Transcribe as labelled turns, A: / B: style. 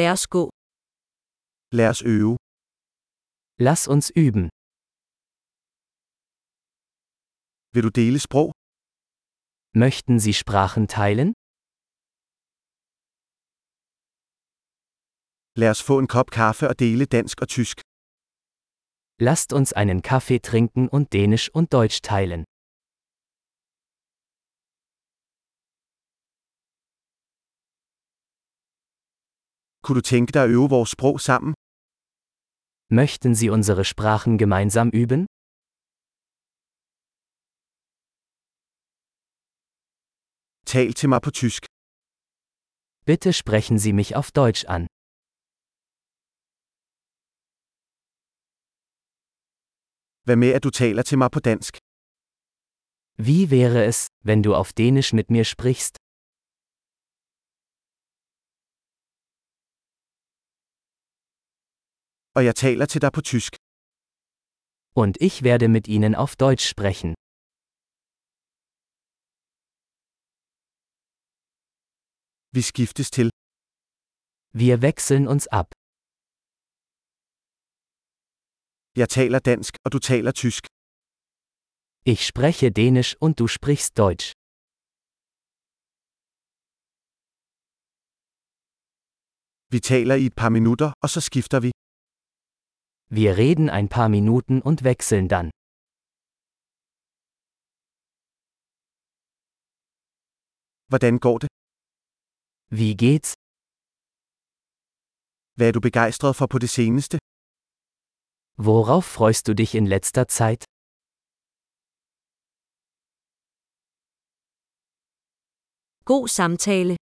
A: Lad os gå.
B: Lad os øve.
C: Lass uns üben.
B: Vil du dele sprog?
C: Möchten Sie Sprachen teilen?
B: Lad os få en kop kaffe og dele dansk og tysk.
C: Lasst uns einen Kaffee trinken und Dänisch und Deutsch teilen.
B: Kunne du tænke dig at øve vores sprog sammen?
C: Möchten Sie unsere Sprachen gemeinsam üben?
B: Tal til mig på tysk.
C: Bitte sprechen Sie mich auf Deutsch an.
B: Hvad med at du taler til mig på dansk?
C: Wie wäre es, wenn du auf Dänisch mit mir sprichst?
B: Og jeg taler til dig på tysk.
C: Und ich werde mit Ihnen auf Deutsch sprechen.
B: Vi skiftes til.
C: Wir wechseln uns ab.
B: Jeg taler dansk, og du taler tysk.
C: Ich spreche Dänisch und du sprichst Deutsch.
B: Vi taler i et par minutter, og så skifter vi.
C: Wir reden ein paar Minuten und wechseln dann.
B: Hvordan går det?
C: Wie geht's?
B: Hvad er du begejstret for på det seneste?
C: Worauf freust du dich in letzter Zeit?
A: God samtale.